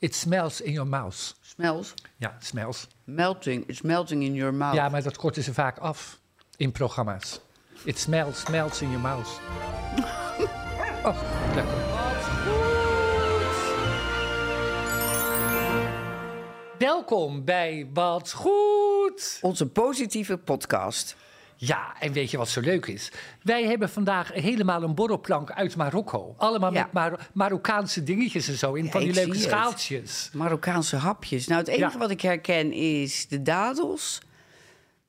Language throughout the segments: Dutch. It smells in your mouth. Smells. Ja, smells. Melting. It's melting in your mouth. Ja, maar dat korten ze vaak af in programma's. It smells, smells in your mouth. oh, lekker. Welkom bij Wat Goed. Onze positieve podcast. Ja, en weet je wat zo leuk is? Wij hebben vandaag helemaal een borrelplank uit Marokko. Allemaal Ja. met Mar- Marokkaanse dingetjes en zo. In van ik die leuke zie het. schaaltjes. Marokkaanse hapjes. Nou, het enige Ja. wat ik herken is de dadels.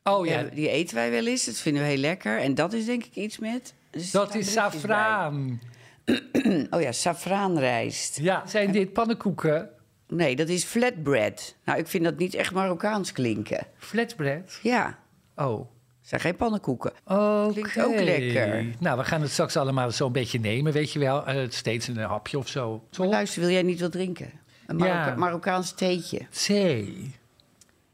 Oh Die ja, hebben- Die eten wij wel eens. Dat vinden we heel lekker. En dat is denk ik iets met... er zitten dat is druppeltjes safraan. bij. Oh ja, safraanrijst. Ja, zijn dit pannenkoeken? Nee, dat is flatbread. Nou, ik vind dat niet echt Marokkaans klinken. Flatbread? Ja, Oh. het zijn geen pannenkoeken. Oké. Klinkt ook lekker. Nou, we gaan het straks allemaal zo'n beetje nemen, weet je wel. Eh, steeds een hapje of zo. Toch? Luister, wil jij niet wat drinken? Een Marokka- Ja. Marokkaans theetje. Thee.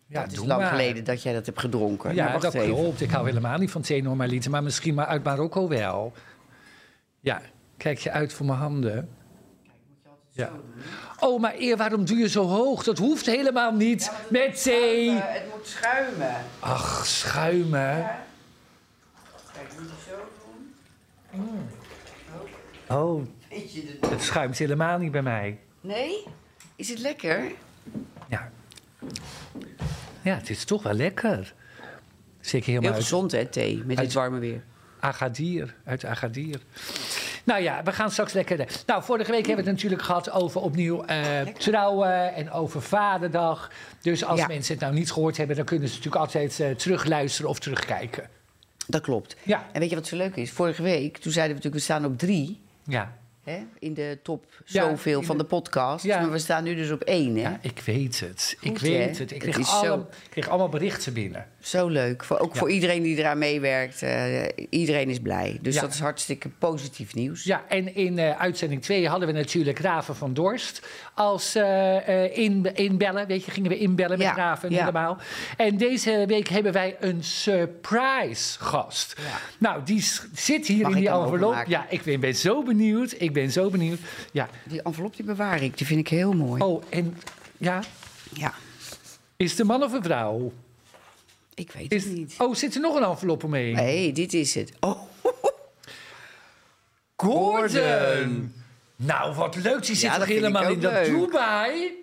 Ja, het is doe lang maar. geleden dat jij dat hebt gedronken. Ja, Nou, wacht dat even. klopt. Ik hou helemaal niet van thee normaliter, maar misschien maar uit Marokko wel. Ja, kijk je uit voor mijn handen. Ja. Oh, maar eer, waarom doe je zo hoog? Dat hoeft helemaal niet met thee. Schuimen, het moet schuimen. Ach, schuimen. Kijk, moet je zo doen. Oh, Weet je het? het schuimt helemaal niet bij mij. Nee? Is het lekker? Ja. Ja, het is toch wel lekker. Zeker helemaal Heel uit gezond, hè, thee, met dit uit- warme weer. Agadir. Uit Agadir. Nou ja, we gaan straks lekker. Nou, vorige week hebben we het natuurlijk gehad over opnieuw eh, trouwen en over Vaderdag. Dus als Ja. mensen het nou niet gehoord hebben, dan kunnen ze natuurlijk altijd eh, terugluisteren of terugkijken. Dat klopt. Ja. En weet je wat zo leuk is? Vorige week, toen zeiden we natuurlijk, we staan op drie. Ja. Hè, in de top Ja, zoveel in van de- de podcast. Ja. Maar we staan nu dus op één, hè? ja, ik weet het. ik Goed, weet hè? het. Ik Het kreeg, is alle- zo- ik kreeg allemaal berichten binnen. Zo leuk. Voor, ook Ja. voor iedereen die eraan meewerkt. eh, iedereen is blij. Dus Ja. dat is hartstikke positief nieuws. Ja, en in eh, uitzending 2 hadden we natuurlijk Raven van Dorst. Als eh, eh, in, inbellen, weet je, gingen we inbellen met Ja, Raven en ja. helemaal. En deze week hebben wij een surprise gast. Nou, die s- zit hier Mag in ik die hem envelop. openmaken? Ja, ik ben, ben zo benieuwd. Ik ben zo benieuwd. Ja. Die envelop die bewaar ik. Die vind ik heel mooi. Oh, en ja, Ja, is het een man of een vrouw? ik weet Is, het niet. oh, zit er nog een envelop omheen? Nee, dit is het. Oh, Gordon! Nou, wat leuk. Die zit Ja, toch dat vind ik helemaal ook in dat leuk. Dubai?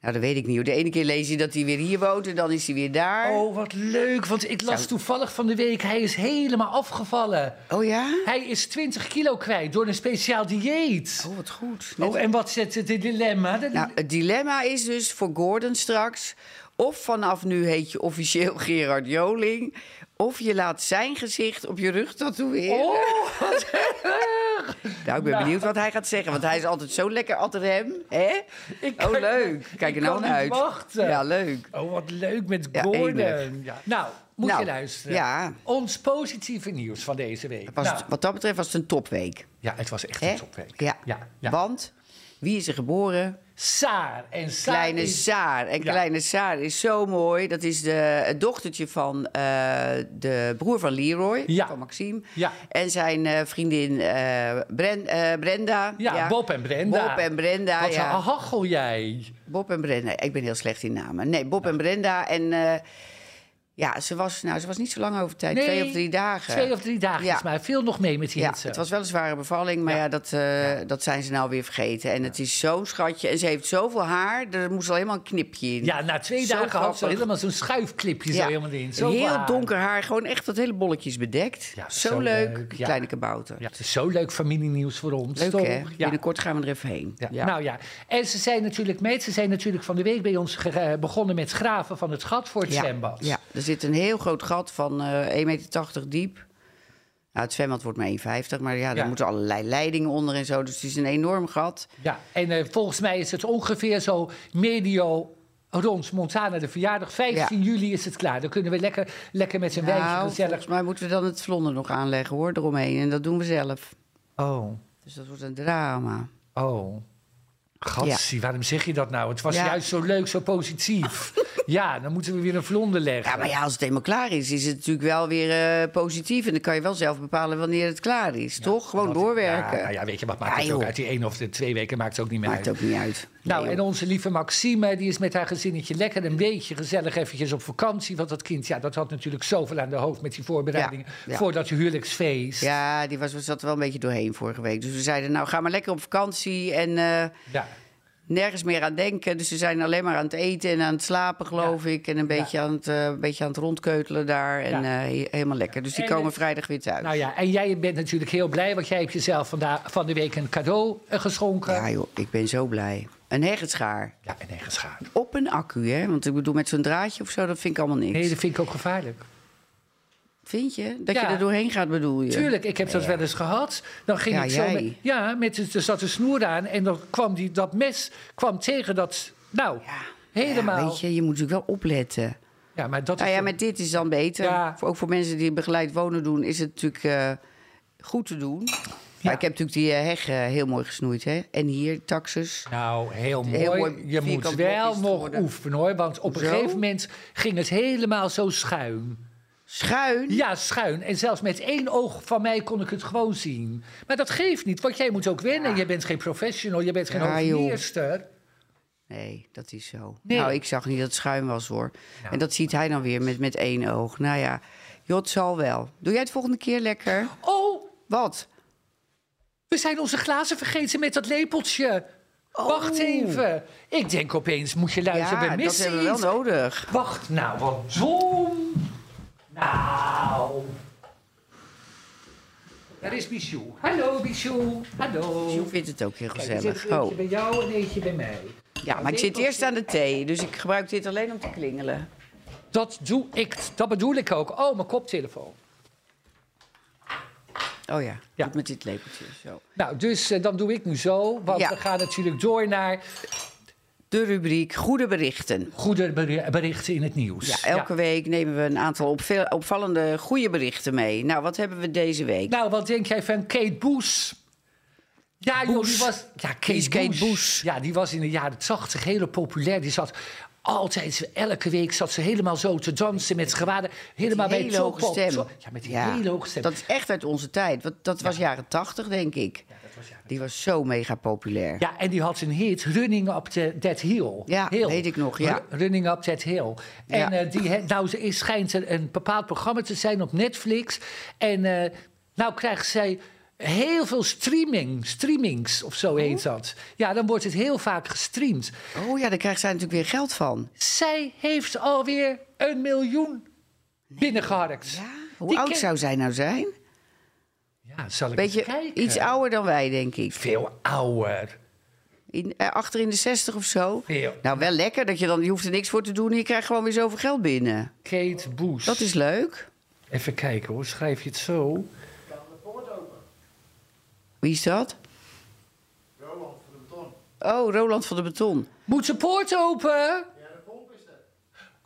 nou dat weet ik niet. hoor. De ene keer lees je dat hij weer hier woont en dan is hij weer daar. Oh, wat leuk. Want ik las Zou- toevallig van de week, hij is helemaal afgevallen. Oh ja? Hij is 20 kilo kwijt door een speciaal dieet. Oh, wat goed. Net- Oh, en wat zet het in dilemma? Dat- Nou, het dilemma is dus voor Gordon straks... of vanaf nu heet je officieel Gerard Joling... of je laat zijn gezicht op je rug tatoeëren. Oh, wat erg. Nou, ik ben Nou. benieuwd wat hij gaat zeggen, want hij is altijd zo lekker achter hem. Hè? Ik Oh, kan- leuk. Kijk ik er nou kan naar niet uit. wachten. Ja, leuk. Oh, wat leuk met Ja, Gordon. enig. Ja. Nou, moet Nou, je luisteren. ja. Ons positieve nieuws van deze week. Was Nou, het- wat dat betreft was het een topweek. ja, het was echt Hè? een topweek. Ja. Ja, ja. Want wie is er geboren? Saar en Saar Kleine is- Saar. En Ja. Kleine Saar is zo mooi. Dat is de, het dochtertje van eh, de broer van Leroy, Ja. van Maxime. Ja. En zijn eh, vriendin eh, Bren- eh, Brenda. Ja, Bob en Brenda. Bob en Brenda, Wat ja. een hachel jij. Bob en Brenda. Ik ben heel slecht in namen. Nee, Bob en Brenda. En eh, ja, ze was, nou, ze was niet zo lang over tijd. Nee, twee of drie dagen. Twee of drie dagen Ja. is maar veel nog mee met die ja, hitte. het was wel een zware bevalling, maar Ja. ja, dat, eh, dat zijn ze nou weer vergeten. En het is zo'n schatje. En ze heeft zoveel haar, er moest al helemaal een knipje in. Ja, na twee Zo dagen had ze grappig. helemaal zo'n schuifclipje zo Ja. helemaal in. Zo heel waar. donker haar, gewoon echt tot hele bolletjes bedekt. Ja, zo, zo leuk. leuk, Die ja. Kleine kabouter. Ja, het is zo leuk familienieuws voor ons. Leuk toch? hè? Ja. Binnenkort gaan we er even heen. Ja. Nou ja, en ze zijn natuurlijk mee. Ze zijn natuurlijk van de week bij ons ge- eh, begonnen met graven van het gat voor het ja. zwembad. Ja, er zit een heel groot gat van eh 1,80 meter diep. Nou, het zwembad wordt maar 1,50, maar ja, daar Ja. moeten allerlei leidingen onder en zo. Dus het is een enorm gat. Ja, En eh, volgens mij is het ongeveer zo medio rond Montana de verjaardag. 15 juli is het klaar. Dan kunnen we lekker, lekker met z'n wijntje nou, gezellig... volgens mij moeten we dan het vlonder nog aanleggen hoor, eromheen. En dat doen we zelf. Oh, Dus dat wordt een drama. oh. Gatsie, waarom zeg je dat nou? Het was Ja. juist zo leuk, zo positief. Ja, dan moeten we weer een vlonder leggen. Ja, maar ja, als het eenmaal klaar is, is het natuurlijk wel weer eh, positief. En dan kan je wel zelf bepalen wanneer het klaar is, toch? Gewoon Want- doorwerken. Ja, nou ja, weet je, wat maakt Ja, het ook joh. uit? Die één of de twee weken maakt het ook niet meer Maakt uit. ook niet uit. Nou, Nee, en joh. onze lieve Maxime, die is met haar gezinnetje lekker een beetje gezellig eventjes op vakantie. Want dat kind, ja, dat had natuurlijk zoveel aan de hoofd met die voorbereidingen Ja, ja. voor dat huwelijksfeest. Ja, die was, zat er wel een beetje doorheen vorige week. Dus we zeiden, nou, ga maar lekker op vakantie en eh, Ja. nergens meer aan denken. Dus ze zijn alleen maar aan het eten en aan het slapen, geloof ik. En een beetje, aan het, eh, een beetje aan het rondkeutelen daar. En Ja. eh, he- helemaal lekker. Dus die En, komen eh, vrijdag weer thuis. Nou ja, en jij bent natuurlijk heel blij, want jij hebt jezelf vanda- van de week een cadeau eh, geschonken. ja, joh, ik ben zo blij. Een heggeschaar. Ja, en nergens gaan. Op een accu, hè? Want ik bedoel, met zo'n draadje of zo, dat vind ik allemaal niks. Nee, dat vind ik ook gevaarlijk. Vind je? Dat Ja. je er doorheen gaat, bedoel je? Tuurlijk, ik heb dat wel eens gehad. Dan ging Ja, ik zo jij. met, ja, met het- er zat een snoer aan en dan kwam die, dat mes kwam tegen dat. Nou, Ja. helemaal. Ja, Ja, weet je, je moet natuurlijk wel opletten. maar dat Nou is ja, toch- met dit is dan beter. Ja. Voor- Ook voor mensen die begeleid wonen doen, is het natuurlijk eh, goed te doen. Maar ik heb natuurlijk die eh, heg eh, heel mooi gesnoeid, hè? En hier, taxus. Nou, heel mooi. Heel mooi je moet vierkant blok wel is het nog geworden. oefenen hoor. Want op een Zo? gegeven moment ging het helemaal zo schuin. Schuin. Ja, schuin. En zelfs met één oog van mij kon ik het gewoon zien. Maar dat geeft niet, want jij moet ook wennen. Je bent geen professional, je bent geen Ja, joh. hoofdmeester. Nee, dat is zo. Nee. Nou, ik zag niet dat het schuin was, hoor. Ja. En dat ziet hij dan weer met, met één oog. Nou ja, joh, het zal wel. Doe jij het volgende keer lekker? Oh, Wat? we zijn onze glazen vergeten met dat lepeltje. Wacht even. Ik denk opeens, moet je luisteren, Oh. ja, we dat missen hebben we wel iets. nodig. Wacht nou, wat dom. Nou. Daar is Bichou. Hallo Bichou. Hallo. Je vindt het ook heel Kijk, er gezellig. zit eentje Oh. bij jou en eentje bij mij. Ja, maar ik zit eerst aan de thee, dus ik gebruik dit alleen om te klingelen. Dat doe ik, dat bedoel ik ook. Oh, mijn koptelefoon. Oh ja, Ja. doe het met dit lepeltje. Zo. Nou, dus eh, dan doe ik nu zo, want Ja. we gaan natuurlijk door naar De rubriek Goede Berichten. goede beri- berichten in het nieuws. Ja, elke week nemen we een aantal opve- opvallende goede berichten mee. Nou, wat hebben we deze week? Nou, wat denk jij van Kate Bush? Ja, joh, die Bush. was... Ja, Kate, Wie is Kate Bush? Ja, die was in de jaren tachtig heel populair. Die zat altijd, elke week zat ze helemaal zo te dansen met gewaden. Helemaal bij hele hoge Topop. stem. Zo- Ja, met die hele hoge stem. Dat is echt uit onze tijd. Want dat was jaren tachtig, denk ik. Dat was ja- Die was zo mega populair. Ja, en die had een hit, Running Up the- That Hill. Ja, Hill. weet ik nog, ja. Ru- Running Up That Hill. En Ja. eh, die, he- nou, ze is, schijnt een, een bepaald programma te zijn op Netflix. En eh, nou krijgt zij heel veel streaming, streamings of zo heet dat. Ja, dan wordt het heel vaak gestreamd. Oh ja, daar krijgt zij natuurlijk weer geld van. Zij heeft alweer een miljoen binnengeharkt. Ja, Hoe Die oud ken- zou zij nou zijn? ja zal ik eens Beetje kijken? iets ouder dan wij, denk ik. Veel ouder. In, eh, achter in de zestig of zo. Veel. Nou, wel lekker dat je dan... Je hoeft er niks voor te doen en je krijgt gewoon weer zoveel geld binnen. Kate Bush. Dat is leuk. Even kijken hoor, schrijf je het zo? Wie is dat? Roland van de Beton. Oh, Roland van de Beton. Moet ze poort open?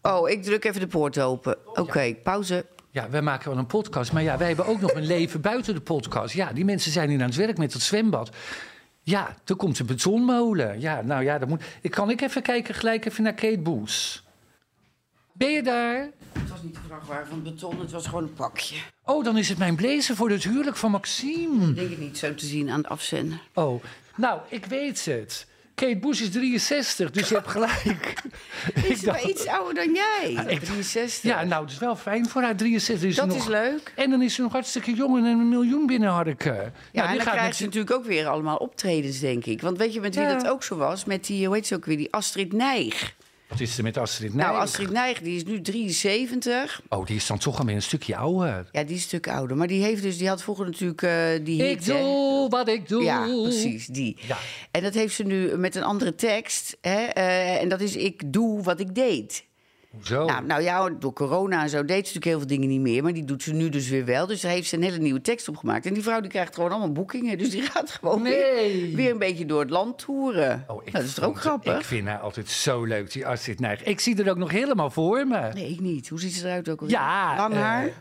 Oh, ik druk even de poort open. Oké, pauze. Ja, wij maken wel een podcast. Maar ja, wij hebben ook nog een leven buiten de podcast. Ja, die mensen zijn hier aan het werk met dat zwembad. Ja, er komt een betonmolen. Ja, nou ja, dat moet... Ik kan ik even kijken gelijk even naar Kate Boes. Ben je daar? Het was niet de vrachtwagen van beton, het was gewoon een pakje. Oh, dan is het mijn blazer voor het huwelijk van Maxime. Ik denk het niet zo te zien aan de afzender. Oh, nou, ik weet het. Kate Boes is 63, dus je hebt gelijk. Is maar iets ouder dan jij. ik- 63. Ja, nou, dat is wel fijn voor haar 63. Is ze dat nog... is leuk. En dan is ze nog hartstikke jong en een miljoen binnenharken. Ja, en dan gaat krijgt natuurlijk- ze natuurlijk ook weer allemaal optredens, denk ik. Want weet je met wie Ja. dat ook zo was? Met die, hoe heet ze ook weer, die Astrid Nijg. Wat is er met Astrid Nou, Nijs? Astrid Nijg, die is nu 73. Oh, die is dan toch alweer een stukje ouder. Ja, die is een stuk ouder. Maar die, heeft dus, die had vroeger natuurlijk eh, die Ik hit, hè. doe wat ik doe. Ja, precies, die. Ja. En dat heeft ze nu met een andere tekst. Hè, eh, en dat is ik doe wat ik deed. Zo. Nou, nou ja, door corona en zo deed ze natuurlijk heel veel dingen niet meer. Maar die doet ze nu dus weer wel. Dus daar heeft ze een hele nieuwe tekst op gemaakt. En die vrouw die krijgt gewoon allemaal boekingen. Dus die gaat gewoon Nee. weer, weer een beetje door het land toeren. Oh, Nou, ik dat is toch ook vond- Ik grappig? vind haar altijd zo leuk, die Astrid Nijg. Ik zie er ook nog helemaal voor me. Nee, Nee, ik niet. Hoe ziet ze eruit ook alweer? Ja, Lang eh, haar?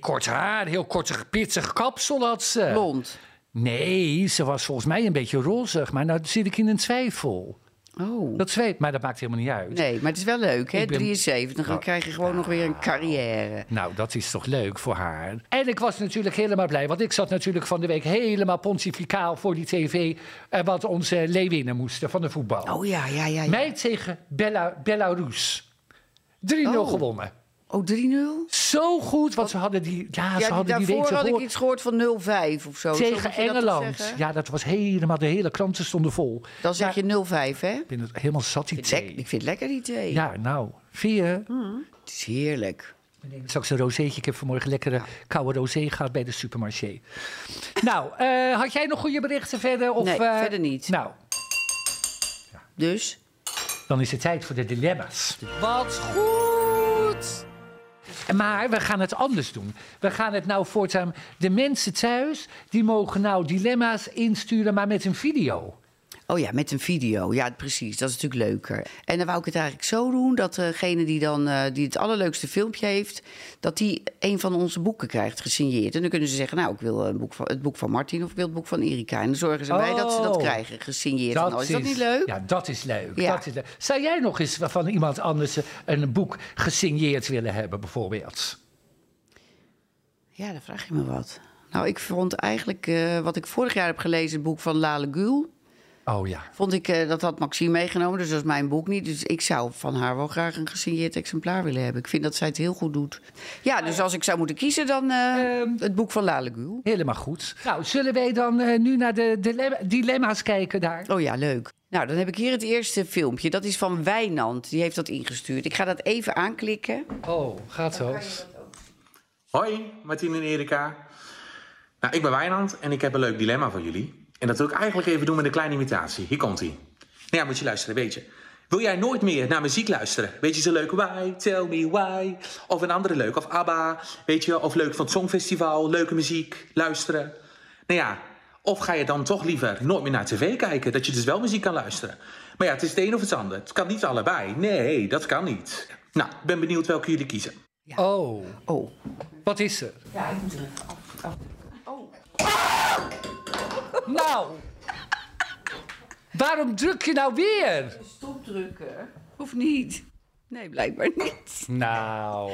kort haar, heel korte, pitsig kapsel had ze. Blond? Nee, ze was volgens mij een beetje rozig, maar nou zit ik in een twijfel. Oh. Dat zweet, maar dat maakt helemaal niet uit. Nee, maar het is wel leuk, hè? Dus Ik ben- 73, dan krijg je gewoon nog weer een carrière. Nou, dat is toch leuk voor haar. En ik was natuurlijk helemaal blij, want ik zat natuurlijk van de week helemaal pontificaal voor die tv. eh, wat onze leeuwinnen moesten van de voetbal. Oh ja, ja, ja. ja. Mij tegen Bela, Belarus. 3-0 Oh. gewonnen. Oh, 3-0? Zo goed, want ze hadden die, ja, ze Ja, hadden die week daarvoor had ik ervoor iets gehoord van 0-5 of zo. Zo tegen moet je dat toch Engeland. zeggen? Ja, dat was helemaal, de hele kranten stonden vol. Dan zeg je 0-5, hè? Ik ben het helemaal zat die Ik vind, thee. ik vind het lekker die thee. Ja, nou, vier. Het is heerlijk. Ik neem straks een rozeetje. Ik heb vanmorgen lekkere koude rosé gehad bij de supermarché. Nou, eh, had jij nog goede berichten verder? Of, Nee, eh, verder niet. Nou, Dus, dan is het tijd voor de dilemma's. wat goed! Maar we gaan het anders doen. We gaan het nou voortaan... De mensen thuis, die mogen nou dilemma's insturen, maar met een video. Oh ja, met een video. Ja, precies. Dat is natuurlijk leuker. En dan wou ik het eigenlijk zo doen dat degene die, dan, eh, die het allerleukste filmpje heeft... dat die een van onze boeken krijgt gesigneerd. En dan kunnen ze zeggen, nou, ik wil een boek van, het boek van Martin of ik wil het boek van Erika. En dan zorgen ze bij dat ze dat Oh. krijgen, gesigneerd. en al. nou, Is, dat niet leuk? Ja, dat is leuk. Ja. Dat is leuk. Zou jij nog eens van iemand anders een boek gesigneerd willen hebben, bijvoorbeeld? Ja, dan vraag je me wat. Nou, ik vond eigenlijk eh, wat ik vorig jaar heb gelezen, het boek van Lale Gül. Oh ja. Vond ik, eh, dat had Maxime meegenomen, dus dat is mijn boek niet. Dus ik zou van haar wel graag een gesigneerd exemplaar willen hebben. Ik vind dat zij het heel goed doet. Ja, dus als ik zou moeten kiezen, dan eh, Ehm. het boek van Lale Gül. Helemaal goed. Nou, zullen wij dan eh, nu naar de dilemma- dilemma's kijken daar? Oh ja, leuk. Nou, dan heb ik hier het eerste filmpje. Dat is van Wijnand. Die heeft dat ingestuurd. Ik ga dat even aanklikken. Oh, gaat zo. Hoi, Martien en Erika. Nou, ik ben Wijnand en ik heb een leuk dilemma voor jullie. En dat wil ik eigenlijk even doen met een kleine imitatie. Hier komt ie. Nou ja, moet je luisteren, weet je. Wil jij nooit meer naar muziek luisteren? Weet je zo leuk, why, tell me why. Of een andere leuk, of ABBA. Weet je, of leuk van het Songfestival, leuke muziek, luisteren. Nou ja, of ga je dan toch liever nooit meer naar tv kijken, dat je dus wel muziek kan luisteren. Maar ja, het is het een of het ander. Het kan niet allebei. Nee, dat kan niet. Nou, ik ben benieuwd welke jullie kiezen. Oh, Oh, wat is er? Ja, Oh. ik moet er. Nou! Waarom druk je nou weer? stopdrukken. Of niet? Nee, blijkbaar niet. Nou.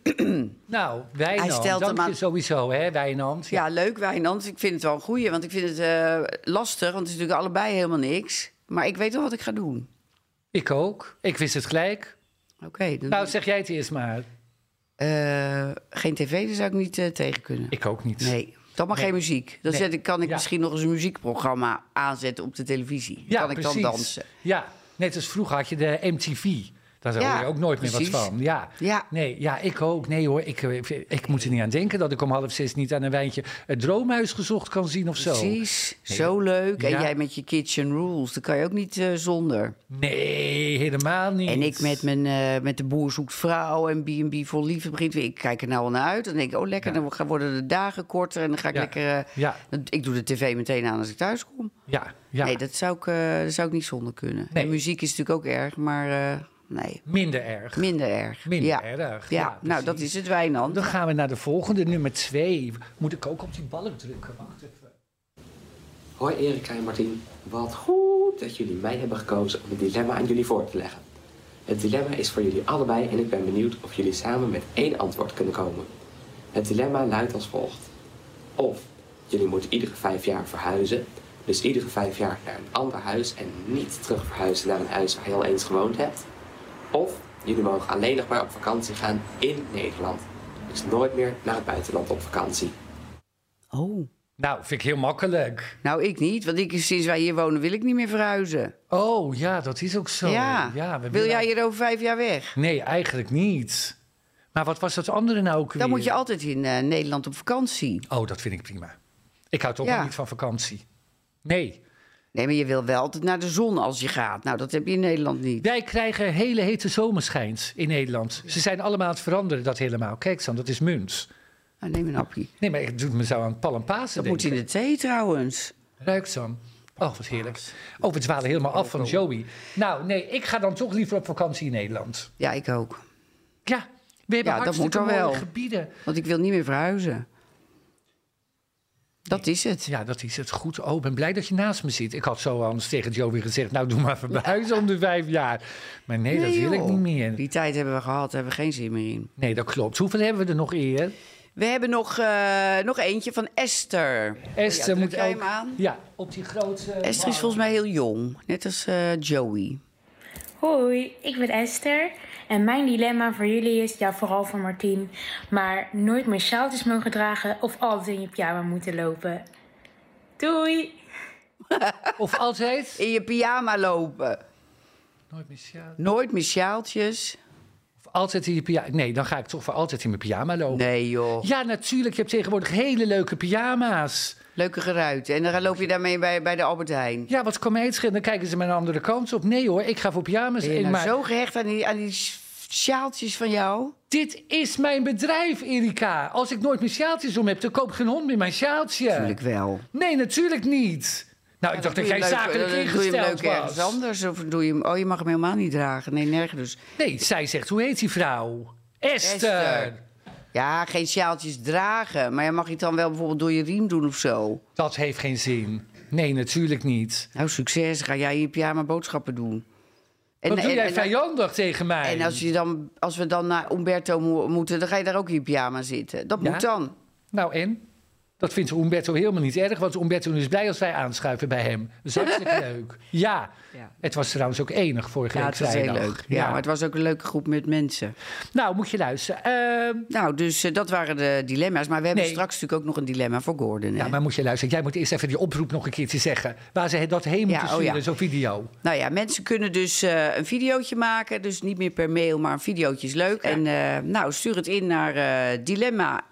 nou, Wijnand, Hij stelt dank hem aan- je sowieso, hè, Wijnand. Ja, leuk Wijnand. Ik vind het wel een goeie, want ik vind het eh, lastig. Want het is natuurlijk allebei helemaal niks. Maar ik weet wel wat ik ga doen. Ik ook. Ik wist het gelijk. Oké, dan... Nou, zeg jij het eerst maar. Eh, geen tv, daar zou ik niet eh, tegen kunnen. Ik ook niet. Nee, dan maar geen muziek. Dan Nee. zet ik, kan ik Ja. misschien nog eens een muziekprogramma aanzetten op de televisie. Ja, kan ik precies. dan dansen. Ja, net als vroeger had je de MTV. Daar hoor Ja, je ook nooit meer wat precies. van. Ja. Ja. Nee, ja, ik ook. Nee hoor, ik, eh, ik, moet er niet aan denken dat ik om half zes niet aan een wijntje het droomhuis gezocht kan zien of zo. Precies, zo leuk. En Ja. jij met je kitchen rules, daar kan je ook niet eh, zonder. Nee, helemaal niet. En ik met, mijn, eh, met de boer zoekt vrouw en B&B voor liefde begint weer. Ik kijk er nou al naar uit. Dan denk ik, oh lekker, Ja. dan gaan- worden de dagen korter. En dan ga ik Ja. lekker... eh, Ja, dan- ik doe de tv meteen aan als ik thuis kom. ja, ja. Nee, dat zou, ik, eh, daar zou ik niet zonder kunnen. Nee. En muziek is natuurlijk ook erg, maar eh, nee, Minder erg. minder erg. Minder ja. erg. Ja, nou precies. dat is het Wijnand. Dan gaan we naar de volgende, nummer twee. Moet ik ook op die balk drukken? Wacht even. Hoi Erika en Martin. Wat goed dat jullie mij hebben gekozen om het dilemma aan jullie voor te leggen. Het dilemma is voor jullie allebei en ik ben benieuwd of jullie samen met één antwoord kunnen komen. Het dilemma luidt als volgt. Of jullie moeten iedere vijf jaar verhuizen, dus iedere vijf jaar naar een ander huis en niet terug verhuizen naar een huis waar je al eens gewoond hebt. Of jullie mogen alleen nog maar op vakantie gaan in Nederland. Dus nooit meer naar het buitenland op vakantie. Oh. Nou, vind ik heel makkelijk. Nou, ik niet, want ik, sinds wij hier wonen wil ik niet meer verhuizen. Oh ja, dat is ook zo. ja we wil willen- jij hier over vijf jaar weg? Nee, eigenlijk niet. Maar wat was dat andere nou ook weer? Dan moet je altijd in eh, Nederland op vakantie. Oh, dat vind ik prima. Ik hou toch Ja. nog niet van vakantie. Nee. Nee, maar je wil wel altijd naar de zon als je gaat. Nou, dat heb je in Nederland niet. Wij krijgen hele hete zomerschijns in Nederland. Ze zijn allemaal aan het veranderen, dat helemaal. Kijk dan, dat is munt. Nou, neem een appie. Nee, maar het doet me zo aan pal en Pasen Dat moet in denken. de thee trouwens. Ruikt dan. Oh, wat heerlijk. Oh, we dwalen helemaal af van Joey. Nou, nee, ik ga dan toch liever op vakantie in Nederland. Ja, ik ook. Ja, we hebben Ja, dat hartstikke moet dan mooie wel. gebieden. Want ik wil niet meer verhuizen. Dat is het. Ja, dat is het goed. Oh, ik ben blij dat je naast me zit. Ik had zo anders tegen Joey gezegd... nou, doe maar verhuizen om de vijf jaar. Maar nee, dat wil ik joh. niet meer. Die tijd hebben we gehad, daar hebben we geen zin meer in. Nee, dat klopt. Hoeveel hebben we er nog Oh eer? We hebben nog, eh, nog eentje van Esther. Esther Ja, druk moet jij ook... hem aan? Ja, op die grote... Esther is volgens mij heel jong, net als eh, Joey. Hoi, ik ben Esther en mijn dilemma voor jullie is, ja vooral voor Martien, maar nooit meer sjaaltjes mogen dragen of altijd in je pyjama moeten lopen. Doei! Of altijd... In je pyjama lopen. Nooit meer sjaal. Nooit meer sjaaltjes. Of altijd in je pyjama... Nee, dan ga ik toch voor altijd in mijn pyjama lopen. Nee joh. Ja, natuurlijk. Je hebt tegenwoordig hele leuke pyjama's. Leuke geruit. En dan loop je daarmee bij, bij de Albert Heijn. Ja, wat kan mij het schelen? Dan kijken ze mijn andere kant op. Nee hoor, ik ga voor pyjama's. Ben je in, nou maar zo gehecht aan die, aan die sj- sjaaltjes van jou? dit is mijn bedrijf, Erika. Als ik nooit mijn sjaaltjes om heb, dan koop geen hond meer mijn sjaaltje. Natuurlijk wel. Nee, natuurlijk niet. Nou, ik dacht dat Doe je jij hem leuk- zakelijk dan doe je hem ingesteld leuk ergens was. anders? Of doe je hem, oh, je mag hem helemaal niet dragen. Nee, nergens. Nee, zij zegt, hoe heet die vrouw? Esther. Esther. Ja, geen sjaaltjes dragen. Maar je mag het dan wel bijvoorbeeld door je riem doen of zo. Dat heeft geen zin. Nee, natuurlijk niet. Nou, succes. Ga jij in je pyjama boodschappen doen. En, Wat doe en- jij en- vijandig tegen mij? en als, je dan, als we dan naar Umberto mo- moeten, dan ga je daar ook in je pyjama zitten. Dat Ja? moet dan. Nou en? Dat vindt Umberto helemaal niet erg, want Umberto is blij als wij aanschuiven bij hem. Dat is hartstikke leuk. Ja. Ja. het was trouwens ook enig vorige Ja, week het was heel vrijdag. leuk. Ja, maar het was ook een leuke groep met mensen. Nou, moet je luisteren. Ehm, Nou, dus eh, dat waren de dilemma's. Maar we hebben Nee. straks natuurlijk ook nog een dilemma voor Gordon. ja, hè? maar moet je luisteren. Jij moet eerst even die oproep nog een keertje zeggen. Waar ze dat heen moeten oh sturen, ja. zo'n video. Nou ja, mensen kunnen dus eh, een videootje maken. Dus niet meer per mail, maar een videootje is leuk. En eh, nou, stuur het in naar eh dilemma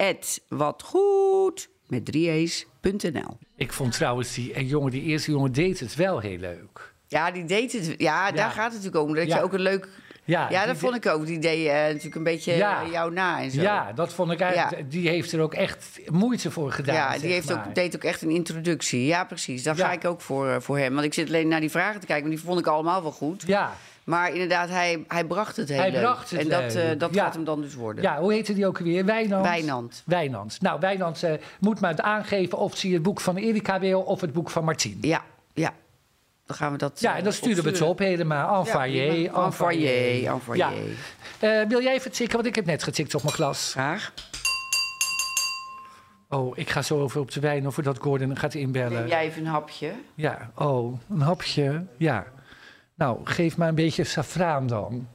met 3's.nl. Ik vond trouwens die eh, jongen, die eerste jongen deed het wel heel leuk. Ja, die deed het. Ja, daar gaat het natuurlijk om. Dat Ja. je ook een leuk. Ja, Ja, die dat vond ik ook. Die deed eh, natuurlijk een beetje Ja. eh, jou na en zo. Ja, dat vond ik eigenlijk. Die heeft er ook echt moeite voor gedaan. Ja, die zeg heeft maar. ook, deed ook echt een introductie. Ja, precies. Daar Ja. ga ik ook voor, eh, voor hem. Want ik zit alleen naar die vragen te kijken, want die vond ik allemaal wel goed. Ja. Maar inderdaad, hij, hij bracht het heel Hij leuk. bracht het en dat, eh, leuk. dat Ja. gaat hem dan dus worden. Ja, hoe heette die ook weer? Wijnand. Wijnand. Wijnand. Nou, Wijnand eh, moet maar het aangeven of ze het boek van Erika wil of het boek van Martien. Ja, ja. Dan gaan we dat. eh, Ja, en dan sturen we het zo op helemaal. En foyer, en En foyer, en Ja. foyer. Eh, wil jij even tikken? Want ik heb net getikt op mijn glas. Graag. Oh, ik ga zo over op de wijn of voordat Gordon gaat inbellen. Neem jij even een hapje? Ja, oh, een hapje. Ja. Nou, geef maar een beetje safraan dan.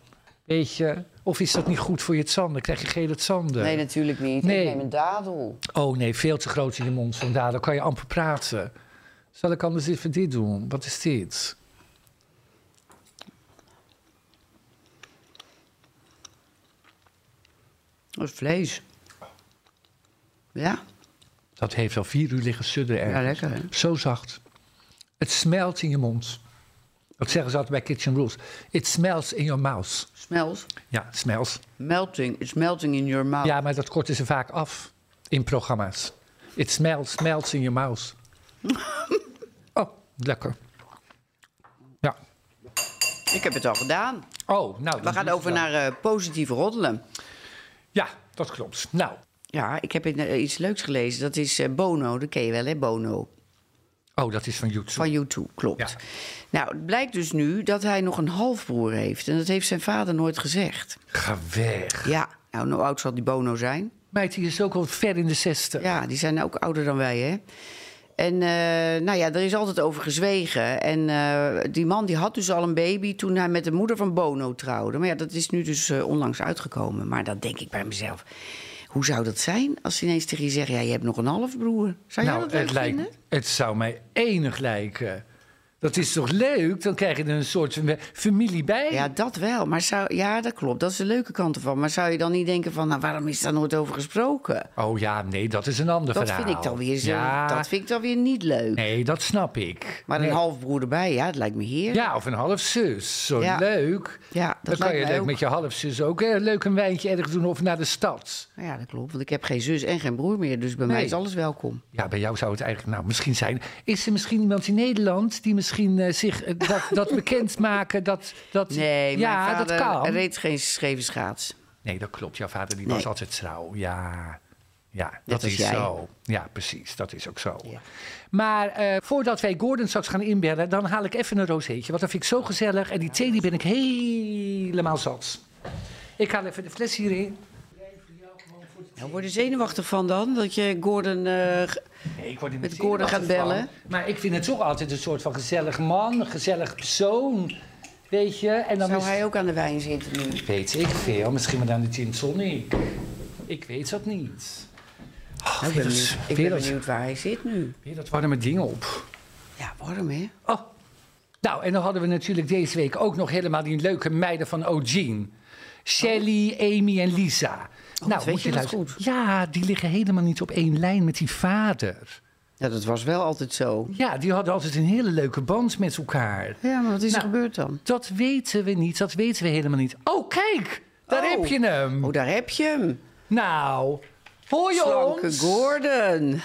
Beetje. Of is dat niet goed voor je tanden? Krijg je gele tanden? Nee, natuurlijk niet. Nee. Ik neem een dadel. Oh nee, veel te groot in de mond vandaar. Dan kan je amper praten. Zal ik anders even dit doen? Wat is dit? Dat is vlees. Ja, Dat heeft al vier uur liggen sudderen ja ergens. lekker. Hè? Zo zacht. Het smelt in je mond. Dat zeggen ze altijd bij Kitchen Rules. It smells in your mouth. Smelt. Ja, het smells. Melting. It's melting in your mouth. Ja, maar dat korten ze vaak af in programma's. It smells, smells in your mouth. oh, lekker. Ja. Ik heb het al gedaan. Oh, nou. We gaan over naar eh, positief roddelen. Ja, dat klopt. Nou. Ja, ik heb in- eh, iets leuks gelezen. Dat is eh, Bono, dat ken je wel, hè? Bono. Oh, dat is van YouTube. Van YouTube, klopt. Ja. Nou, het blijkt dus nu dat hij nog een halfbroer heeft. En dat heeft zijn vader nooit gezegd. Ga weg. Ja, nou, hoe oud zal die Bono zijn? Meid, die is ook al ver in de zestig. Ja, die zijn ook ouder dan wij, hè? En eh, nou ja, er is altijd over gezwegen. En eh, die man die had dus al een baby toen hij met de moeder van Bono trouwde. Maar ja, dat is nu dus eh, onlangs uitgekomen. Maar dan denk ik bij mezelf, hoe zou dat zijn als ze ineens tegen je zeggen... ja, je hebt nog een halfbroer. Zou jij nou, dat leuk het, lijkt, vinden? het zou mij enig lijken. Dat is toch leuk? Dan krijg je er een soort fam- familie bij. Ja, dat wel. Maar zou, ja, dat klopt. Dat is de leuke kant ervan. Maar zou je dan niet denken van, nou, waarom is daar nooit over gesproken? Oh ja, nee, dat is een ander Dat verhaal. vind ik dan weer zo. Ja, Dat vind ik dan weer niet leuk. Nee, dat snap ik. Maar een Nee. halfbroer erbij, ja, dat lijkt me heerlijk. Ja, of een halfzus. Zo Ja. leuk. Ja, dat dan kan lijkt je mij leuk ook. met je halfzus ook eh, leuk een wijntje ergens doen of naar de stad. Nou Ja. dat klopt. Want ik heb geen zus en geen broer meer. Dus bij mij Nee. is alles welkom. Ja, bij jou zou het eigenlijk nou misschien zijn. Is er misschien iemand in Nederland die misschien eh, zich eh, dat, dat bekendmaken? Dat, dat, Nee, ja, mijn vader dat kan. reed geen scheve schaats. Nee, dat klopt. Jouw vader die Nee. was altijd trouw. Ja. Ja, dat als is jij. zo. Ja, precies. Dat is ook zo. Ja. Maar eh, voordat wij Gordon straks gaan inbellen, dan haal ik even een rozeetje. Want dat vind ik zo gezellig. En die thee die ben ik helemaal zat. Ik haal even de fles hierin. Nou, word je zenuwachtig van dan? Dat je Gordon... eh, g- Nee, ik word er Met niet Gordon zenuwachtig gaan bellen. van. Maar ik vind het toch altijd een soort van gezellig man, een gezellig persoon. Weet je? En dan zou is Oh, hij ook aan de wijn zitten nu? Weet ik veel. Misschien maar dan de gin tonic. Ik weet dat niet. Oh, Nou, ik weer ben dat- benieuwd, ik weer ben dat- benieuwd waar hij zit nu. weer dat warme ding op. Ja, warm hè? Oh. Nou, en dan hadden we natuurlijk deze week ook nog helemaal die leuke meiden van O'Gene. Shelly, Amy en Lisa. nou, weet je dat luisteren. Ja, die liggen helemaal niet op één lijn met die vader. Ja, dat was wel altijd zo. Ja, die hadden altijd een hele leuke band met elkaar. Ja, maar wat is Nou. er gebeurd dan? Dat weten we niet, dat weten we helemaal niet. Oh, kijk, daar Oh. heb je hem. Oh, daar heb je hem. Nou, hoor je Slanke ons? Gordon.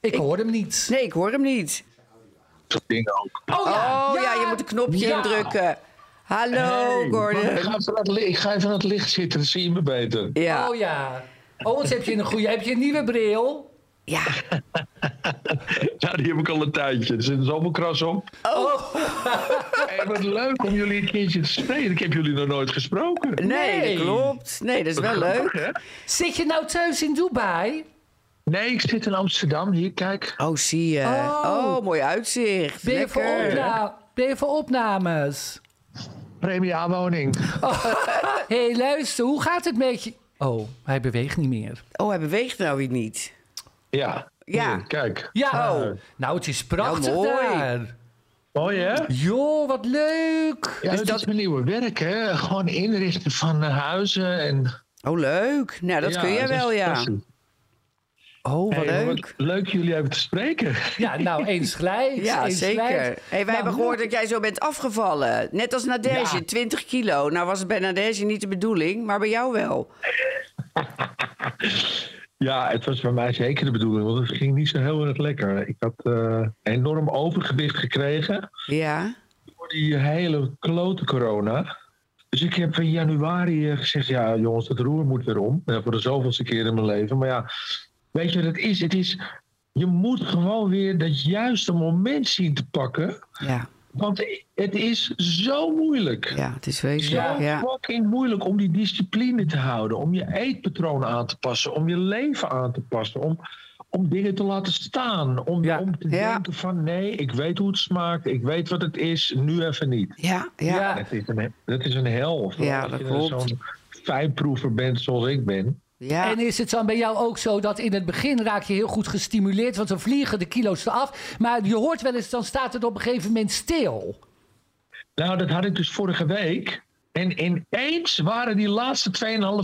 Ik hoor hem niet. Nee, ik hoor hem niet. dat ding ook. Oh Oh ja, je moet een knopje Ja. Oh. indrukken. Hallo, Hey, ik, Gordon. ga even naar het licht, ik ga even naar het licht zitten, dan zie je me beter. Ja. Oh ja. Oh, wat heb je een goede? Heb je een nieuwe bril? ja. Ja, die heb ik al een tijdje. Er zit zoveel kras op. Oh. En wat leuk om jullie een keertje te spreken. Ik heb jullie nog nooit gesproken. Nee, Nee. dat klopt. Nee, dat is wel Nou, leuk. Hè? Zit je nou thuis in Dubai? Nee, ik zit in Amsterdam. Hier, kijk. Oh, zie je. Oh. Oh, mooi uitzicht. Ben je, voor Lekker. opna- ben je voor opnames? Premia-woning. Hé, hey, luister, hoe gaat het met je? Oh, hij beweegt niet meer. Oh, hij beweegt nou weer niet. Ja. Ja. Hier, kijk. Ja, Oh. nou, het is prachtig Nou, mooi. daar. Mooi, hè? Joh, wat leuk. Dus Ja, dat, is mijn nieuwe werk, hè? Gewoon inrichten van eh, huizen. En, Oh, leuk. Nou, dat Ja, kun jij is wel, ja. fantastisch. Oh, wat Hey, leuk. wat leuk jullie even te spreken. Ja, nou, eens gelijk. Ja, eens zeker. Hey, gelijk. Nou, wij hebben gehoord dat jij zo bent afgevallen. Net als Nadege, Ja. 20 kilo. Nou was het bij Nadege niet de bedoeling, maar bij jou wel. Ja, het was bij mij zeker de bedoeling, want het ging niet zo heel erg lekker. Ik had eh, enorm overgewicht gekregen Ja. door die hele klote corona. Dus ik heb in januari eh, gezegd, ja jongens, het roer moet weer om. Eh, voor de zoveelste keer in mijn leven. Maar ja, weet je wat het is? Het is, je moet gewoon weer dat juiste moment zien te pakken. Ja, Want het is zo moeilijk. ja het is wezenlijk. Ja. Ja. Ja. Fucking moeilijk om die discipline te houden, om je eetpatroon aan te passen, om je leven aan te passen, om, om dingen te laten staan, om, Ja. om te Ja. denken van nee, ik weet hoe het smaakt, ik weet wat het is, nu even niet. Ja, Ja. Dat is een, dat is een hel. Ja, Als dat je klopt. zo'n fijnproever bent zoals ik ben. En is het dan bij jou ook zo dat in het begin raak je heel goed gestimuleerd, want dan vliegen de kilo's eraf. Maar je hoort wel eens, dan staat het op een gegeven moment stil. Nou, dat had ik dus vorige week. En ineens waren die laatste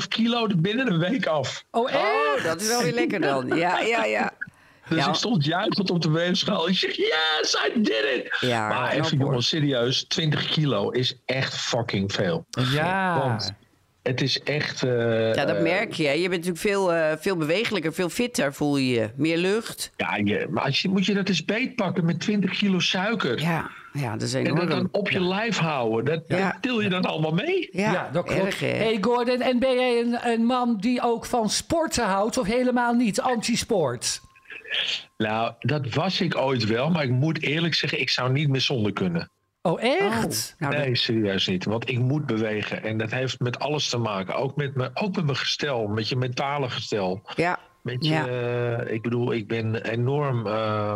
2,5 kilo er binnen een week af. Oh, echt? Oh, dat is wel weer lekker dan. Ja, ja, ja. Dus Ja. ik stond juichend op de weegschaal. Ik zeg, yes, I did it! Ja, maar knap, even hoor. jongens, serieus, 20 kilo is echt fucking veel. Ja. Want het is echt... eh, Ja, dat eh, merk je. hè. Je bent natuurlijk veel, eh, veel bewegelijker, veel fitter voel je je. Meer lucht. ja, je, maar als je, moet je dat eens beetpakken met 20 kilo suiker. Ja, ja dat is En dat dan enorm. op je lijf houden. Dat, Ja. dat til je dan allemaal mee? Ja, Ja, dat klopt. Erg, hè? hey Gordon, en ben jij een, een man die ook van sporten houdt of helemaal niet? Antisport. Nou, dat was ik ooit wel. Maar ik moet eerlijk zeggen, ik zou niet meer zonder kunnen. Oh, echt? Nou, dat- Nee, serieus niet. Want ik moet bewegen. En dat heeft met alles te maken. Ook met, mijn- ook met mijn gestel, met je mentale gestel. ja. Weet je, Ja. eh, ik bedoel, ik ben enorm. eh,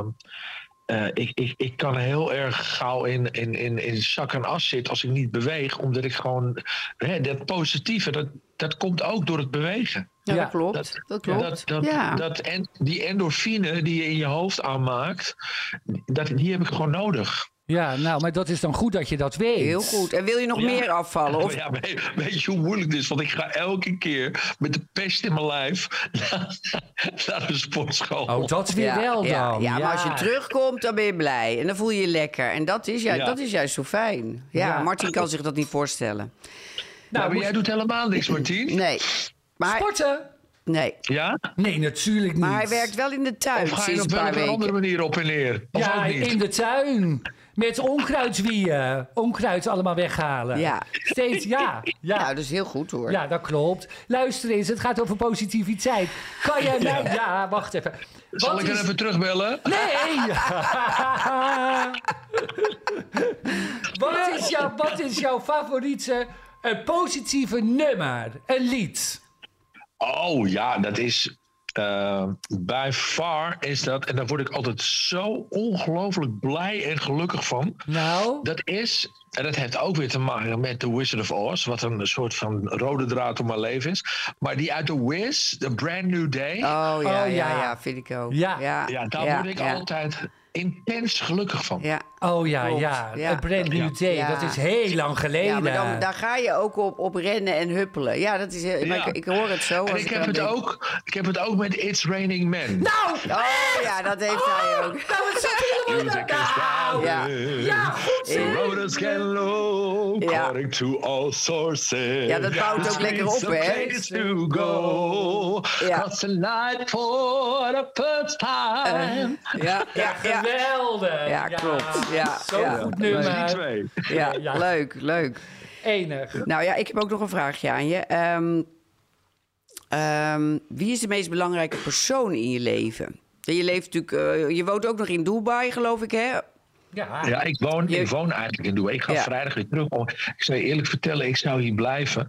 eh, ik, ik, ik kan heel erg gauw in, in, in, in zak en as zitten als ik niet beweeg. Omdat ik gewoon. Hè, dat positieve, dat, dat komt ook door het bewegen. Ja, Ja. dat klopt. Dat Dat, klopt. dat, Ja. dat en, die endorfine die je in je hoofd aanmaakt, dat, die heb ik gewoon nodig. Ja, nou, maar dat is dan goed dat je dat weet. Heel goed. En wil je nog meer afvallen? Of... Ja, weet, weet je hoe moeilijk het is? Want ik ga elke keer met de pest in mijn lijf naar, naar de sportschool. Nou, Oh, dat weer Ja, wel dan. ja, Ja, maar als je terugkomt, dan ben je blij. En dan voel je je lekker. En dat is, ju- Ja. dat is juist zo fijn. Ja, Ja. Martin kan zich dat niet voorstellen. nou, maar moest- jij doet helemaal niks, Martien. Nee. Maar, Sporten? nee. Ja? Nee, natuurlijk niet. maar hij werkt wel in de tuin Of ga je sinds op een paar een weken. andere manier op en neer? Of Ja, ook niet? in de tuin. Met onkruidwieën. Onkruid allemaal weghalen. Ja. Steeds ja. Ja. Nou, dat is heel goed hoor. Ja, dat klopt. Luister eens, het gaat over positiviteit. Kan jij mij... Ja, wacht even. Zal Wat ik er is- even terugbellen? Nee! wat, is jouw, wat is jouw favoriete een positieve nummer? Een lied? Oh ja, dat is. eh by far is dat, en daar word ik altijd zo ongelooflijk blij en gelukkig van. Nou, Dat is, en dat heeft ook weer te maken met The Wizard of Oz, wat een soort van rode draad om mijn leven is. Maar die uit The Wiz, The Brand New Day. Oh ja, Oh, ja, ja. ja, vind ik ook. Ja. ja, daar word ik ja. altijd intens gelukkig van. Ja. oh ja, Klopt, ja. ja. A Brand New Day, Ja. dat is heel lang geleden. Ja, maar dan, daar ga je ook op, op rennen en huppelen. Ja, dat is heel, maar Ja. ik, ik hoor het zo. En als ik heb, aan het denk. ook, ik heb het ook met It's Raining Men. Nou, Oh ja, dat heeft hij ook. nou, het zit helemaal Music is Nou, Ja. power. Ja, goed The zeg. road is getting low, Ja. according to all sources. Ja, dat bouwt The ook lekker streets op, a hè? place to go, Ja. Eh, cross the night for the first time. Ja, ja, ja. Geweldig. Ja, klopt. Ja, Zo'n ja. goed Dus die nummer. twee. Ja, Ja. leuk, leuk. Enig. Nou ja, ik heb ook nog een vraagje aan je. Ehm, ehm, wie is de meest belangrijke persoon in je leven? Je leeft natuurlijk, eh, je woont ook nog in Dubai, geloof ik, hè? Ja. Ja, ik woon, Je- ik woon eigenlijk in Doe. Ik ga Ja. vrijdag weer terug. om- Ik zou je eerlijk vertellen, ik zou hier blijven.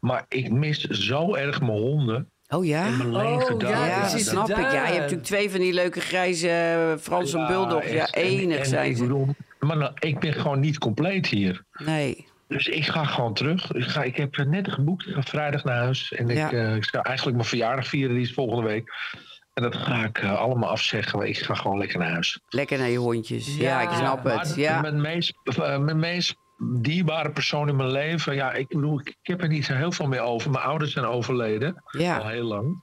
Maar ik mis zo erg mijn honden. Oh ja. Mijn Oh, lege ja, dagen. Ja, dat dat is snap ik. Ja, je inderdaad. hebt natuurlijk twee van die leuke grijze eh, Franse bulldogs. Ja, echt. En- enig en zijn ik ze. bedoel, maar nou, ik ben gewoon niet compleet hier. Nee. Dus ik ga gewoon terug. Ik, ga, ik heb eh, net geboekt. Ik ga vrijdag naar huis. En Ja. ik, eh, ik zou eigenlijk mijn verjaardag vieren. Die is volgende week. En dat ga ik eh, allemaal afzeggen. Ik ga gewoon lekker naar huis. Lekker naar je hondjes. Ja, Ja. ik snap het. Maar Ja. mijn, meest, eh, mijn meest dierbare persoon in mijn leven. Ja, ik bedoel, ik, ik heb er niet zo heel veel meer over. Mijn ouders zijn overleden. Al ja. heel lang.